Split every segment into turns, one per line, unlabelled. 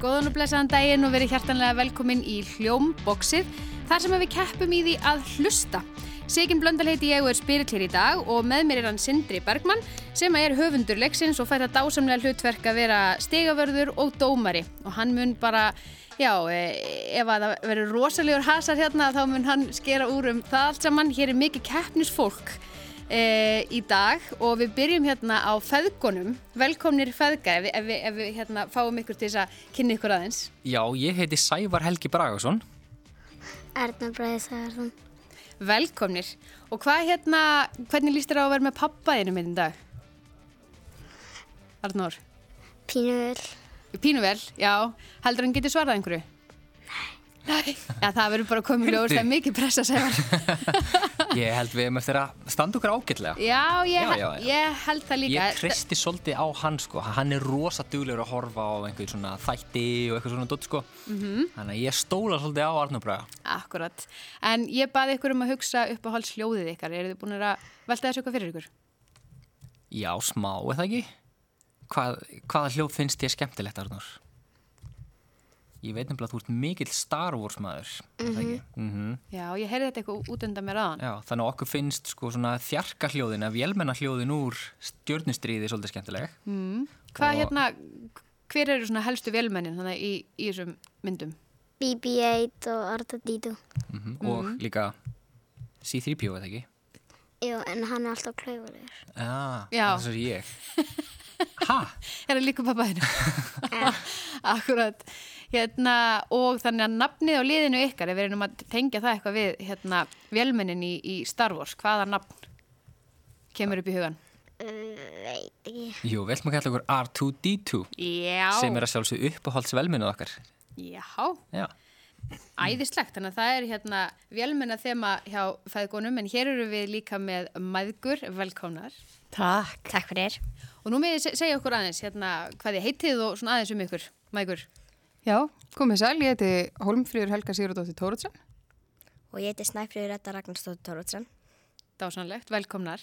Góðan og blessaðan daginn og verið hjartanlega velkomin í Hljómboxið, þar sem við keppum í því að hlusta. Sigin Blöndal heiti ég og er spyrill hér í dag og með mér er hann Sindri Bergmann sem er höfundur leiksins og fær það dásamlega hlutverk að vera stegavörður og dómari og hann mun bara, já, eh, ef að það verður rosalegur hasar hérna þá mun hann skera úr um það allt saman, hér er mikið keppnisfólk e, í dag og við byrjum hérna á feðgunum. Velkomnir feðgar ef við, ef við, ef við hérna, fáum ykkur til þess að kynna ykkur aðeins.
Já, ég heiti Sævar Helgi Bragason.
Erna Bræði Sæðarsson.
Velkomnir. Og hvað hérna, hvernig líst þér á að vera með pappaðinu minn í dag? Arnór.
Pínuvel.
Pínu vel, já. Heldur hann geti svarað einhverju? Nei. Já, það verður bara komið ljóður, það er mikið pressa, Sævar.
Ég held við um eftir að standa okkur ágætlega.
Já, ég,
Já, já, já.
ég held það líka.
Ég kristi svolítið á hann sko, hann er rosa duglegur að horfa á einhvern svona þætti og eitthvað svona dott sko.
Mhm.
-hmm. Þannig að ég stóla svolítið á Arnur Braga.
Akkurat. En ég baði ykkur um að hugsa upp á hals hljóðið ykkar. Eru þið búin að velta þessu eitthvað fyrir ykkur?
Já, smá eða ekki? Hvað, hvaða hljóð finnst ég skemmtilegt Arnur? Ég veit nefnilega að þú ert mikill Star Wars maður. Mm
Mhm.
-hmm. Mm
Já, ég heyrði þetta eitthvað út undan mér aðan.
Já, þannig að okkur finnst sko svona þjarka hljóðin, að vélmenna hljóðin úr stjörnustriði svolítið skemmtileg.
Hvað
Og-
hérna, hver eru svona helstu vélmennin þannig í, í þessum myndum?
BB-8 og Arda Dítu.
Mhm, og
Mm.
líka C-3PO eða ekki
Jú, en hann er alltaf klaufulegur.
ah,
Já.
þess er ég ha,
Er það Hérna líka pappaðinu? Akkurat. Hérna, og þannig að nafnið á liðinu ykkar, ef við erum að tengja það eitthvað við hérna, vélmennin í, í Star Wars, hvaða nafn kemur upp í hugan?
Veit ekki.
jú, við ætlum að kalla okkur R2-D2
Já.
sem er að sjálfsög uppáhaldsvelminuð okkar
Já.
já,
Æðislegt, þannig að það er hérna vélmenna þema hjá fæðgónum en hér eru við líka með maðgur velkomnar
Takk. Takk fyrir.
og nú með þið segja okkur aðeins hérna hvað þið heitið og svona aðeins um ykkur, maðgur.
Já, komið sæl, ég heiti Holmfríður Helga Sigurðardóttir Tóruðsson.
Og ég heiti Snæfriður Edda Ragnarstóttur Tórótsen.
Dásanlegt, velkomnar.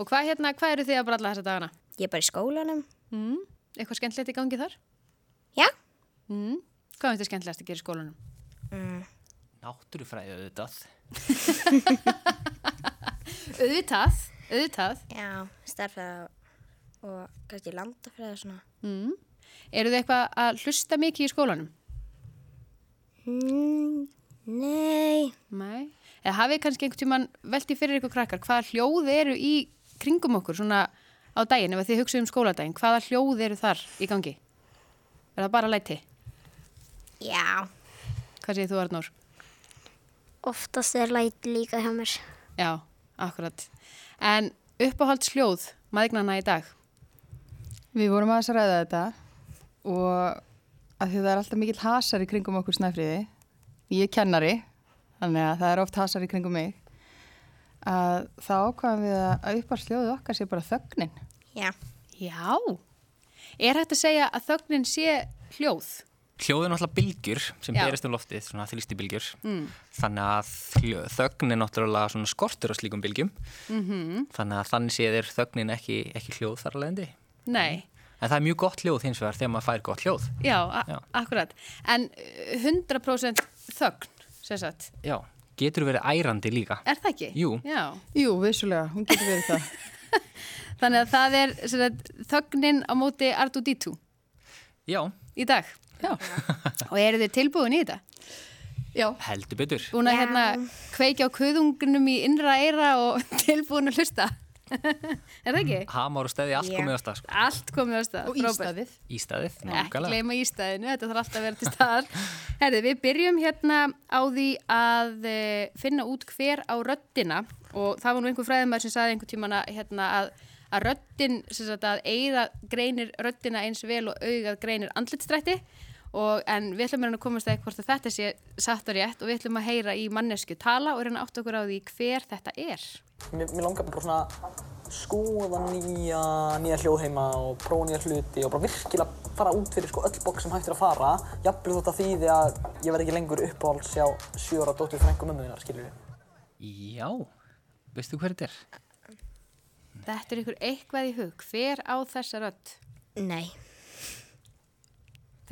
Og hvað hérna, hvað eru þið að bralla þessa dagana?
Ég er bara í skólanum.
Mm, eitthvað skemmtilegt í gangi þar?
Já.
Mm, hvað finnst þið skemmtilegast að gera í skólanum?
náttúrufræði auðvitað
Auðvitað, auðvitað.
Já, starfræða og kannski landafræða og svona.
Mm. Eru þið eitthvað að hlusta mikið í skólanum?
Mm, nei.
Nei. Eða hafið þið kannski einhvern tíman veltið fyrir ykkur krakkar, hvaða hljóð eru í kringum okkur svona á daginn, ef að þið hugsið um skóladaginn, hvaða hljóð eru þar í gangi? Er það bara læti?
Já.
Hvað segir þú, Arnór?
Oftast er læt líka hjá mér.
Já, akkurat. En uppáhalds hljóð, maðignana í dag?
Við vorum aðeins að ræða þetta og að því það er alltaf mikill hasar í kringum okkur snæfriði. Ég er kennari, þannig að það er oft hasar í kringum mig. Að þá ákvaðum við að upparsljóðu okkar sé bara þögnin.
Já.
Já. Er hægt að segja að þögnin sé hljóð?
hljóðin er náttúrulega bylgjur sem
Já. Mm.
berist um loftið, svona þrýsti bylgjur þannig að hljó- þögn er náttúrulega svona skortur á slíkum bylgjum
Mhm.
-hmm. þannig að þannig séð er þögnin ekki, ekki hljóð þar alveg endi
Nei.
en það er mjög gott hljóð hins vegar þegar maður fær gott hljóð
Mhm. Já, a-
Já.
akkurat. En uh, 100% þögn, sem sagt.
já, getur verið ærandi líka
Er það ekki?
Jú.
Já.
Jú, vissulega, hún getur verið það.
Þannig að það er sem sagt, þögnin á móti R2D2
já,
í dag. Já. Og eru þið tilbúin í þetta? Já.
heldur betur
Búin að hérna kveikja á kuðungunum í innra eira og tilbúin að hlusta. er það ekki?
hamar og stæði, allt
Já.
komið á stað sko.
Allt komið á stað.
Og
frábært.
ístæðið.
Ístæðið,
Ekki
nákvæmlega.
gleyma ístæðinu, þetta þarf alltaf að vera til staðar. Herði, við byrjum hérna á því að e, finna út hver á röddina og það var nú einhver fræðumæður sem saði einhver tíman að, hérna, að, að röddin, sem sagt að eigða greinir röddina eins vel og augað greinir andlitstrætti og en við ætlum að reyna að komast að hvort að þetta sé satt og rétt og við ætlum að heyra í mannesku tala og reyna að átta okkur á því hver þetta er.
Mér, mér langar bara svona að skoða nýja, nýja hljóðheima og prófa nýja hluti og bara virkilega fara út fyrir sko öll bók sem hægt er að fara jafnvel þótt að þýði að ég verð ekki lengur uppáhalds hjá sjö ára dóttur frængu mömmu þinnar, skilur við.
Já, veistu hver þetta er?
Þetta er ykkur eitthvað í hug, hver á þessa rödd?
Nei.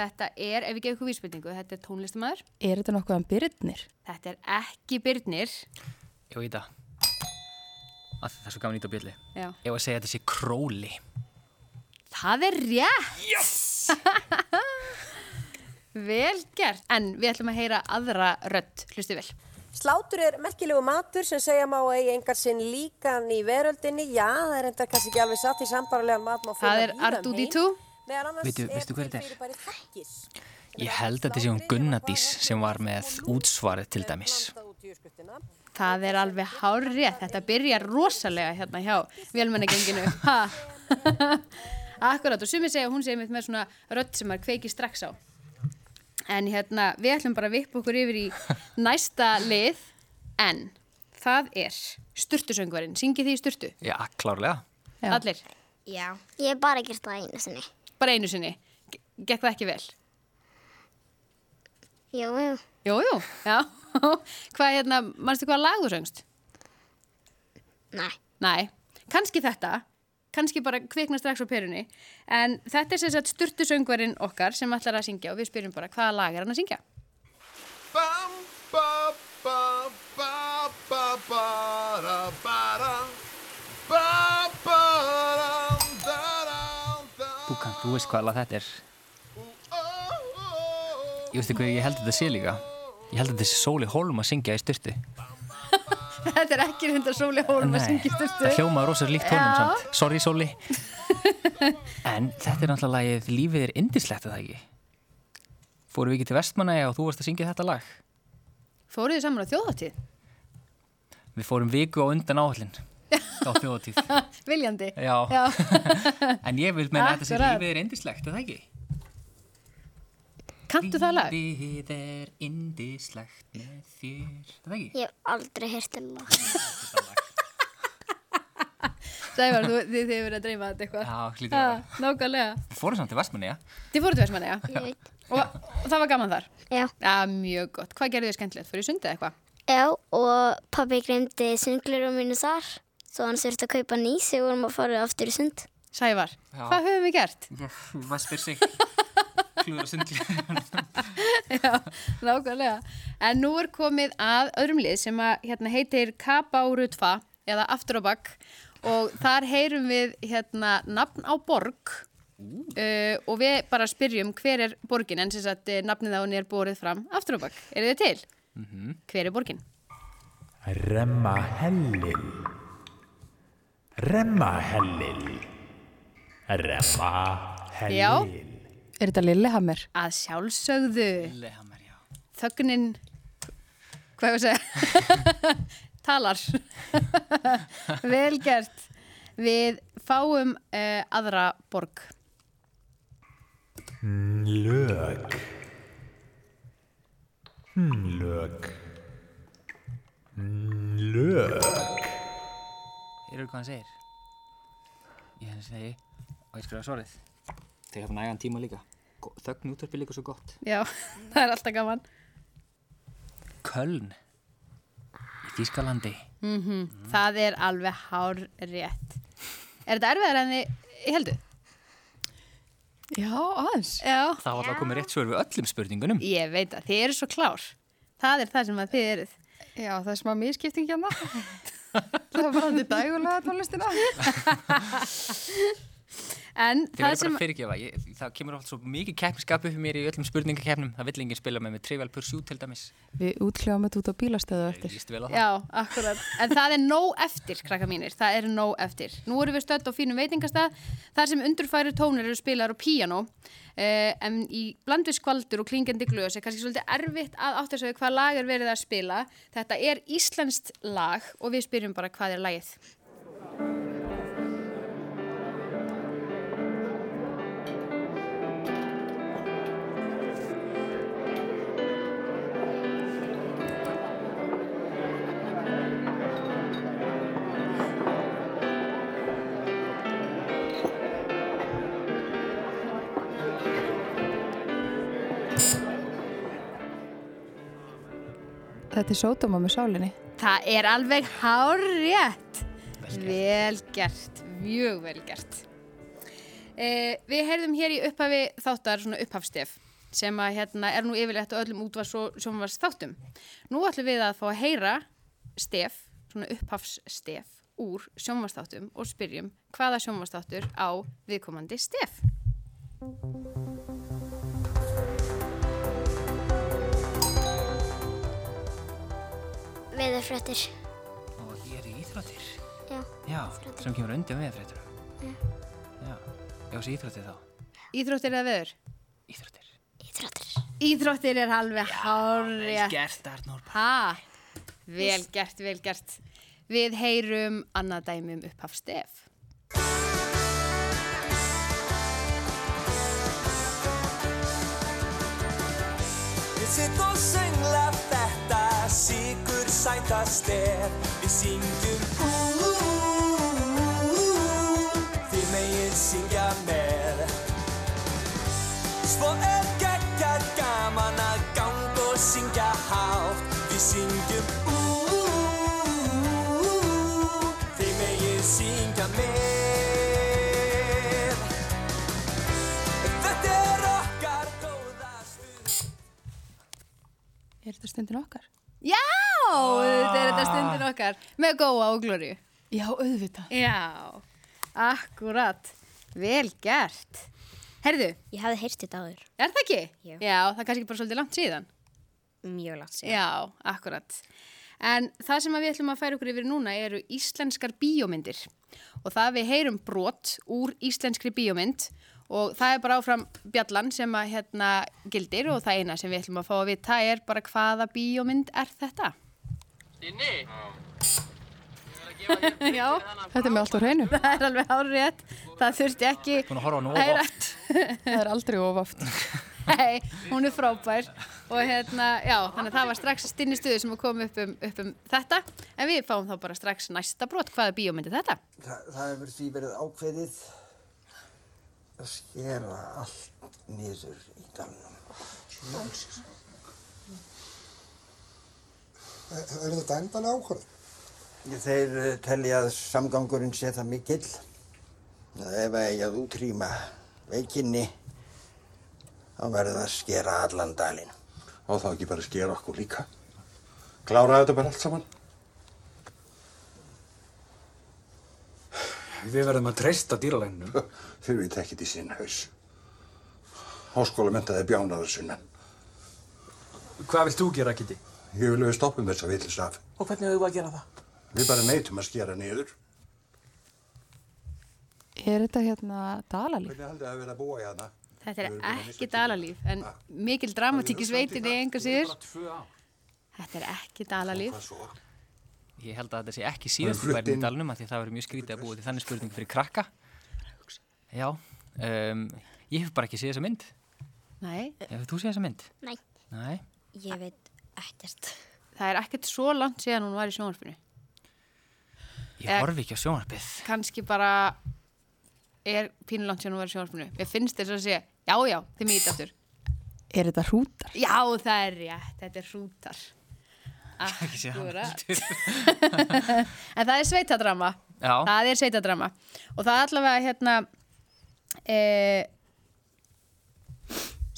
Þetta er, ef ég gef ykkur vísbyrningu, þetta er tónlistamæður.
Er þetta nokkuð um byrnir?
Þetta er ekki Byrnir.
Ég veit það. Af því Það er svo gaman ít á bjölli.
Já.
Ég var að segja að þetta sé króli.
Það er rétt! Yes! vel gert. En við ætlum að heyra aðra rödd. Hlustu vel.
Slátur er merkilegu matur sem segja má að eigi engar sinn líkan í veröldinni. Já, það er enda kannski ekki alveg satt í sambarlegan mat má
Það
finna
er
víða um
R2D2.
heim. Meðal annars
Veitu-
er
veistu hver
til
þetta er?
fyrirbærið haggis.
Ég held að þetta sé hún Gunnadís sem var með útsvarið til dæmis.
Blandað út í jurtskuttuna.
Það er alveg hár rétt. Þetta byrjar rosalega hérna hjá vélmennagenginu. Akkurát og sumir segja að hún segja mitt með svona rödd sem maður kveiki strax á. En hérna, við ætlum bara að vippa okkur yfir í næsta lið. En það er styrtusöngvarinn. Syngið þið í styrtu?
Já, klárlega.
Já.
Allir?
Já.
Ég hef bara gert það einu sinni.
Bara einu sinni. Ge- Gekk það ekki vel?
Jú, jú.
Jú, jú, já. hvað hérna, mannstu hvað lag þú söngst?
Nei.
Næ, kannski þetta, kannski bara kvikna strax á perunni, en þetta er sem sagt styrtu söngvarinn okkar sem ætlar að syngja og við spyrjum bara hvaða lag er hann að syngja?
Bam, ba, ba, ba, ba, ba, da, ba, da. Ba, ba, da, da, da, da.
Þú, kann, þú veist hvað alveg þetta er.
Oh, oh,
Ég veist hvað ég held að þetta sé líka. Ég held að þetta sé Sóli Holm að syngja í styrtu.
þetta er ekki reyndar Sóli Hólm að syngja í
það
styrtu.
hljómaði rosalega líkt honum samt. Sorry Sóli. en þetta er náttúrulega lagið Lífið er indislegt að það ekki. Fórum við ekki til Vestmanæja og þú varst að syngja þetta lag.
Fóruð þið saman á þjóðhátíð?
Við fórum viku á undan áhullin. Á þjóðatíð.
Viljandi?
Já.
Já,
En ég vil meina að þetta sé
Akkurat.
Lífið er indislegt að það ekki.
kanntu það lag?
Lífið er indislegt með þér. Er Það ekki?
Ég hef aldrei heyrt um það.
Sævar, þú, þið þið hefur verið að dreyma þetta eitthvað.
Já, hlýtur að vera.
Já, nákvæmlega.
Við fórum samt til Vestmanni, já.
Þið fóruð til Vestmanni, já.
Ég veit.
Og, og það var gaman þar?
Já.
Já, mjög gott. Hvað gerðu þið skemmtilegt? Fóruð þið sundið eitthvað?
Já, og pabbi glemdi sunglir á mínu þar. Svo hann þurfti að kaupa ný sig og maður farið aftur í sund.
Sævar,
Já.
hvað höfum við gert?
Hvað spyr sig? Klúður að sundlu.
Nákvæmlega. En nú er komið að öðrum lið sem að, hérna, heitir Kabárutfa eða Aftur á Bakk og þar heyrum við hérna, nafn á borg uh, og við bara spyrjum hver er borgin en sem sagt eh, nafnið á henni er borið fram Aftur á Bakk. Eru þið til? Hver er borgin?
Remmahellil Remmahellil Remmahellil
Já.
Er þetta Lillehammer?
Að sjálfsögðu.
Lehammer, já.
Þögnin, hvað hefur að segja? Talar. Vel gert. Við fáum uh, aðra borg.
Lök Lök Lök
Eru hvað hann segir? Ég hann segi, og ég skrifa svarið. Þegar það nægan tíma líka. Go- Þögn útvarpi líka svo gott.
Já, það er alltaf gaman.
Köln. Í Þýskalandi.
Það er alveg hár rétt. Er þetta erfiðar en þið heldu?
Já, aðeins.
Já.
Það var alltaf komið rétt svör við öllum spurningunum.
Ég veit að þið eru svo klár. Það er það sem að þið eruð.
E, Já, það er smá miskipting hérna. það var bara til dægulega tónlistina.
En það
Þið verður bara
sem...
að fyrirgefa, ég, það kemur alltaf svo mikið keppniskap upp í mér í öllum spurningakeppnum. Það vill enginn spila með með Trivial Pursuit til dæmis.
Við útkljáum þetta út á bílastöðu á
Ég
eftir.
líst vel á það.
Já, akkurat. En það er nóg eftir, krakka mínir. Það er nóg eftir. Nú erum við stödd á fínum veitingastað, þar sem undurfæri tónir eru spilar á píanó. Uh, en í blandvið skvaldur og klingjandi glös er kannski svolítið erfitt að áttasöðu hvað lag er verið að spila. Þetta er íslenskt lag og við spyrjum bara hvað er lagið.
Þetta er sódóma með sálinni.
Það er alveg hár rétt. Vel gert, mjög vel gert. Eh, við heyrðum hér í upphafi þáttar svona upphafstef sem að hérna er nú yfirleitt á öllum útvars og sjónvars þáttum. Nú ætlum við að fá að heyra stef, svona upphafsstef úr sjónvarsþáttum og spyrjum hvaða sjónvarsþáttur á viðkomandi stef.
Veðurfréttir.
Og ég er í íþróttir.
Já.
Já, sem kemur undir með fréttunum. Já. Já, þessi íþróttir þá.
Íþróttir eða veður?
Íþróttir.
Íþróttir.
Íþróttir er alveg hárið.
Gert Arnór.
Ha, vel gert, vel gert. Við heyrum annað dæmi um upphafstef.
Ég sitt og söngla þetta Sigur sænta stef Við syngjum ú ú ú ú Þið megin syngja með Svo er geggjað gaman að ganga og syngja hátt Við syngjum ú ú ú ú Þið megin syngja með Þetta er okkar góða stund
Er þetta stundin okkar?
Já, þetta er þetta stundin
Ah.
okkar með góa og glóriu.
Já, auðvitað.
Já, akkurat. Vel gert. Herðu,
Ég hafði heyrt þetta áður.
er það ekki?
Já.
það er kannski bara svolítið langt síðan.
Mjög langt síðan.
Já, akkurat. En það sem að við ætlum að færa okkur yfir núna eru íslenskar bíómyndir. Og það við heyrum brot úr íslenskri bíómynd og það er bara áfram bjallan sem að hérna gildir og það eina sem við ætlum að fá að vita er bara hvaða bíómynd er þetta? Inni? Já,
Þetta er með allt á hreinu.
það er alveg árétt. Það þurfti ekki...
Búin að horfa á hann
Heyra.
og oft.
Það er aldrei ofaft.
Nei, hún er frábær og hérna, já, þannig að það var strax stinni stuðu sem kom upp um, upp um þetta en við fáum þá bara strax næsta brot hvaða bíómyndi þetta?
Þa, það hefur því verið ákveðið að skera allt niður í dalnum.
Er þetta endanlega ákvörðin?
Þeir eh, telja að samgangurinn sé það mikill að ef að ég að útrýma veikinni þá verður það að skera allan dalinn.
Og þá ekki bara skera okkur líka. Klára þetta bara allt saman.
Við verðum að treysta dýralægnum.
Þeir veit ekki til sinn haus. Háskóla mentaði bjánaður sunnan.
Hvað vilt þú gera, Kitty?
Ég vil við stoppum þess að vitlis af.
Og hvernig hefur þú að gera það?
Við bara neytum að skera niður.
Er þetta hérna dalalíf?
Hvernig haldið þið að vera að búa hérna? í hana?
Þetta er ekki dalalíf en mikil dramatík í sveitinni enga síður Þetta er ekki dalalíf
Ég held að þetta sé ekki síðast
flutt
bærin í
inn.
dalnum af því að það verður mjög skrítið að búa til þannig spurningu fyrir krakka. Já, um, ég hef bara ekki séð þessa mynd.
Nei,
Hefur þú séð þessa mynd?
Nei.
Nei.
Ég veit ekkert.
það er ekkert svo langt síðan hún var í sjónvarpinu
Ég
Eh.
horfi ekki á sjónarpið.
kannski bara er pínu langt síðan hún var í sjónvarpinu Mér finnst þess að segja, já, já, þið mýta aftur
Er þetta hrútar?
Já, það er rétt, þetta er hrútar
Ekki séð hana.
Akkúrat. En það er sveitadrama
Já,
Það er sveitadrama og það er allavega hérna e,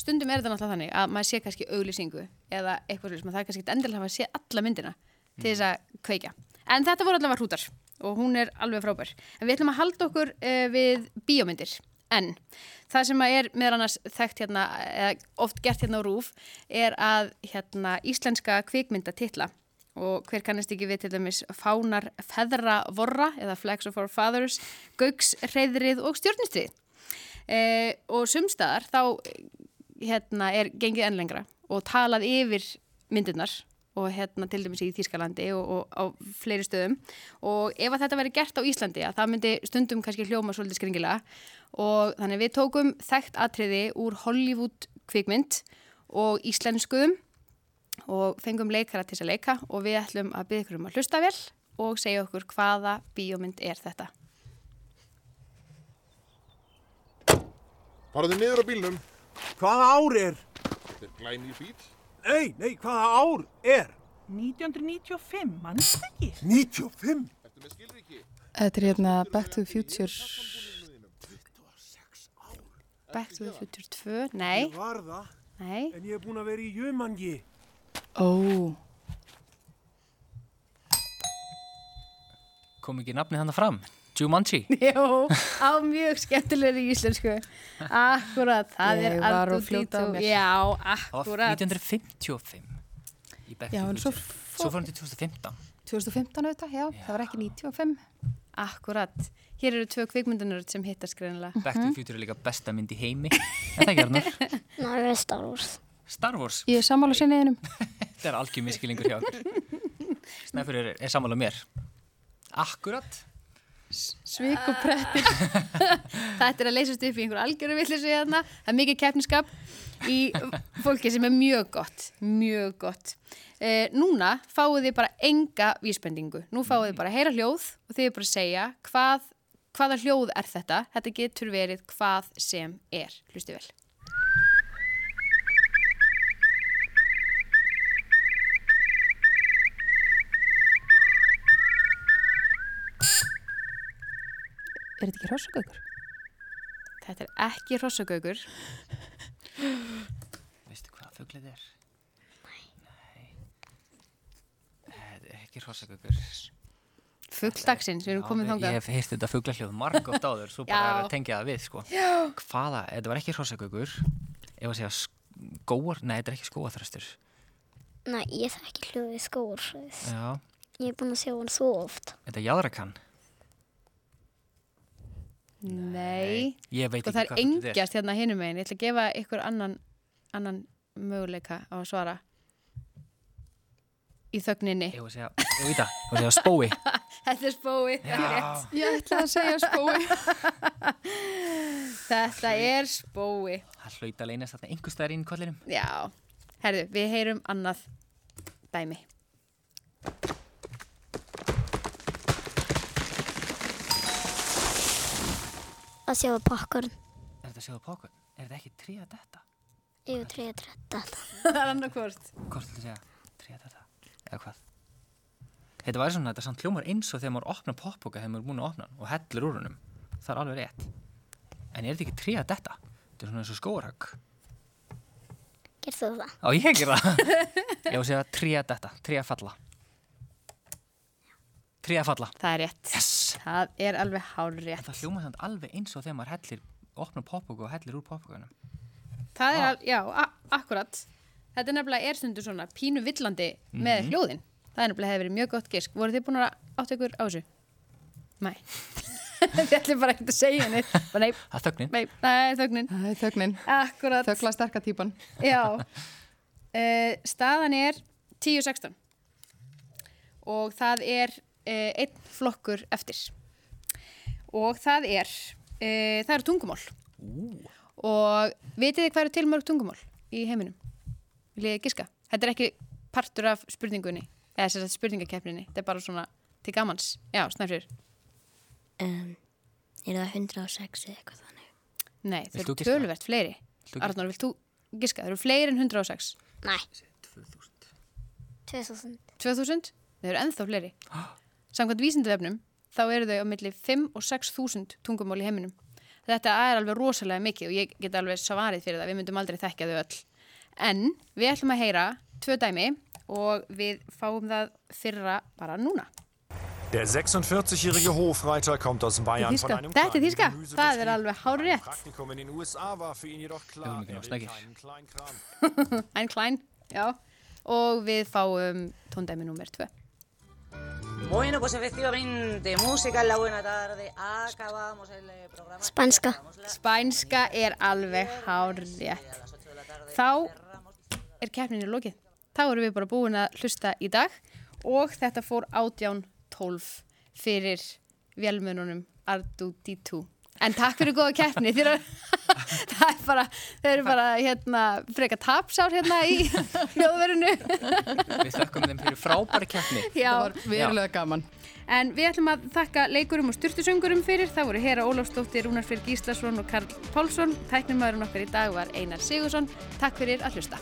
stundum er þetta náttúrulega þannig að maður sé kannski auglýsingu eða eitthvað sem það er kannski ekkert endilega að maður sé alla myndina til þess að kveikja. En þetta voru allavega hrútar og hún er alveg frábær. En við ætlum að halda okkur e, við bíómyndir. En það sem að er meðal annars þekkt hérna, eða oft gert hérna á rúf, er að hérna, íslenska kvikmyndatitla og hver kannast ekki við til dæmis fánar feðra vorra eða flags of our fathers, gaugs, reyðrið og stjórnistrið. E, og sumstaðar þá eh, hérna, er gengið enn lengra og talað yfir myndirnar og hérna til dæmis í Þýskalandi og, og á fleiri stöðum og ef að þetta væri gert á Íslandi að það myndi stundum kannski hljóma svolítið skringilega og þannig við tókum þekkt atriði úr Hollywood kvikmynd og íslenskuðum og fengum leikara til þess að leika og við ætlum að byggja ykkur um að hlusta vel og segja okkur hvaða bíómynd er þetta.
Farðu niður á bílnum.
Hvaða ár er?
Þetta er glænýr bíl.
Nei, nei, hvaða ár er?
1995, mannstu ekki?
95.
Ertu með skilriki?
Þetta er hérna Back to the Future
Back to the Future 2, nei.
Ég var það,
Nei.
en ég er búin að vera í jumangi.
Ó.
Kom ekki nafni þannig fram? Jumanji?
Jó, á mjög skemmtilegri íslensku. Akkurat, það
Ég
er
var
Artur
að fljóta á
Dito.
mér.
Já,
Það var
akkurat.
1955 í Back to
Já,
the
en svo
Future. Svo fór hann til 2015.
2015 auðvitað, já, það var ekki 95.
Akkurat. Hér eru tvö kvikmyndunar sem hittast greinilega.
Back to the Future er líka besta mynd í heimi. En það gerðnar.
Næ, Star Wars.
Star Wars,
Ég er sammála sinniðinum.
þetta er algjör miskilingur hjá okkur. Snæfur er, er sammála mér. Akkurat.
Svík og prettir. Þetta er að leysast upp í einhver algjöru villis við hérna. Það er mikið keppniskap í fólki sem er mjög gott. Mjög gott. Eh, núna fáið þið bara enga vísbendingu. Nú fáið þið bara að heyra hljóð og þið er bara að segja hvað, hvaða hljóð er þetta. Þetta getur verið hvað sem er. Hlustið vel.
Er þetta ekki hrossagaukur?
Þetta er ekki hrossagaugur.
Veistu hvað fuglið er? Nei. Þetta er ekki hrossagöggur.
Fugldagsins, við erum komið þangað.
Ég hef heyrt þetta fuglahljóð margótt áður, svo bara
Já.
er að tengja það við, sko.
Já.
Hvaða, þetta var ekki hrossagöggur, ef að segja skóar, nei, þetta er ekki skóaþröstur.
Næ, ég þekki hljóðið skóarsæðis.
Já,
Ég er búin að sjá hann svo oft.
þetta er jáðrakan.
Nei.
Ég veit
Sko
ekki
það
hvað
er
fuglið er.
engjast hérna hinum megin. Ég ætla að gefa ykkur annan, annan möguleika á að svara. Í þögninni.
Ég var að segja, ég veit það, ég var að segja spói.
Þetta er spói. það er
Já.
rétt.
Ég ætlaði að segja spói.
Þetta er spói.
Það hlaut að leynast þarna einhver staðar inn í kollinum.
Já. Herðu, við heyrum annað dæmi.
Að sjá pakkarn.
Er þetta að sjáða pokkun? Er þetta ekki tríða þetta?
Ég er 3.30.
það er annarkvort.
Hvort vil segja tríða þetta? Eða hvað? Þetta væri svona, þetta samt hljómar eins og þegar maður opnar poppoka þegar maður er búin að opna hann og hellir úr húnum. Það er alveg rétt. En er þetta ekki tríða þetta? Þetta er svona eins og skóarhag.
Gerð þú það?
Á ég ekki það. Ég var að segja tríða þetta, tríða falla. Tríða falla.
Það er rétt.
Yes!
Það er alveg hár rétt.
Það hljómar samt alveg eins og þegar maður hellir, opnar poppoka og hellir úr poppokanum.
Það er, al- já, a- akkurat. Þetta er nefnilega er stundu svona pínu villandi með
Mhm.
hljóðin. Það er nefnilega hefur verið mjög gott gisk. Voruð þið búin að átta ykkur á þessu? Nei. þið ætlum bara ekkert að segja henni. Bara nei.
Það er þögnin.
Nei, nei, þögnin.
Það er þögnin.
Akkurat.
Þögla sterka típan.
Já. Uh, staðan er 10-16. Og það er uh, einn flokkur eftir. Og það er, uh, það eru tungumál. Og vitið þið hvað eru til mörg tungumál í heiminum? Viljið þið giska? Þetta er ekki partur af spurningunni, eða þess að spurningakeppninni. Þetta er bara svona til gamans. Já, snæfrir.
Um, er það 106 eða eitthvað þannig?
Nei,
Vilt
það eru
þú giska?
töluvert fleiri.
Vilt þú giska?
Arnór, vilt þú giska? Það eru fleiri en 106.
Næ. 2000.
2000? Þau eru ennþá fleiri. Samkvæmt vísindavefnum, þá eru þau á milli 5 og 6.000 tungumál í heiminum. Þetta er alveg rosalega mikið og ég get alveg svarið fyrir það, við myndum aldrei þekkja þau öll. En við ætlum að heyra tvö dæmi og við fáum það fyrra bara núna.
Der 46-jährige Hofreiter kommt aus Bayern von
Þíska.
einem
Þetta er þíska,
Gemüsebetrieb.
það er alveg hár rétt.
Praktikum in den USA war für ihn jedoch klar, er will keinen Kleinkram.
Ein klein, já. Og við fáum tóndæmi númer tvö.
Bueno, pues efectivamente, música en la buena tarde. Acabamos el eh, programa.
Spænska.
Spænska er alveg hár rétt. Þá er keppninu lokið. Þá erum við bara búin að hlusta í dag og þetta fór átján 12 fyrir velmönunum Ardu D2. En takk fyrir góða keppni. Þeir eru, það er bara, þeir eru bara hérna, freka tapsár hérna í hljóðverinu.
Við þökkum þeim fyrir frábæri keppni.
Já. Það var verulega
gaman.
En við ætlum að þakka leikurum og styrtusöngurum fyrir. Það voru Hera Ólafsdóttir, Rúnar Fyrir Gíslason og Karl Pálsson. Tæknumæðurinn okkar í dag var Einar Sigursson. Takk fyrir að hlusta.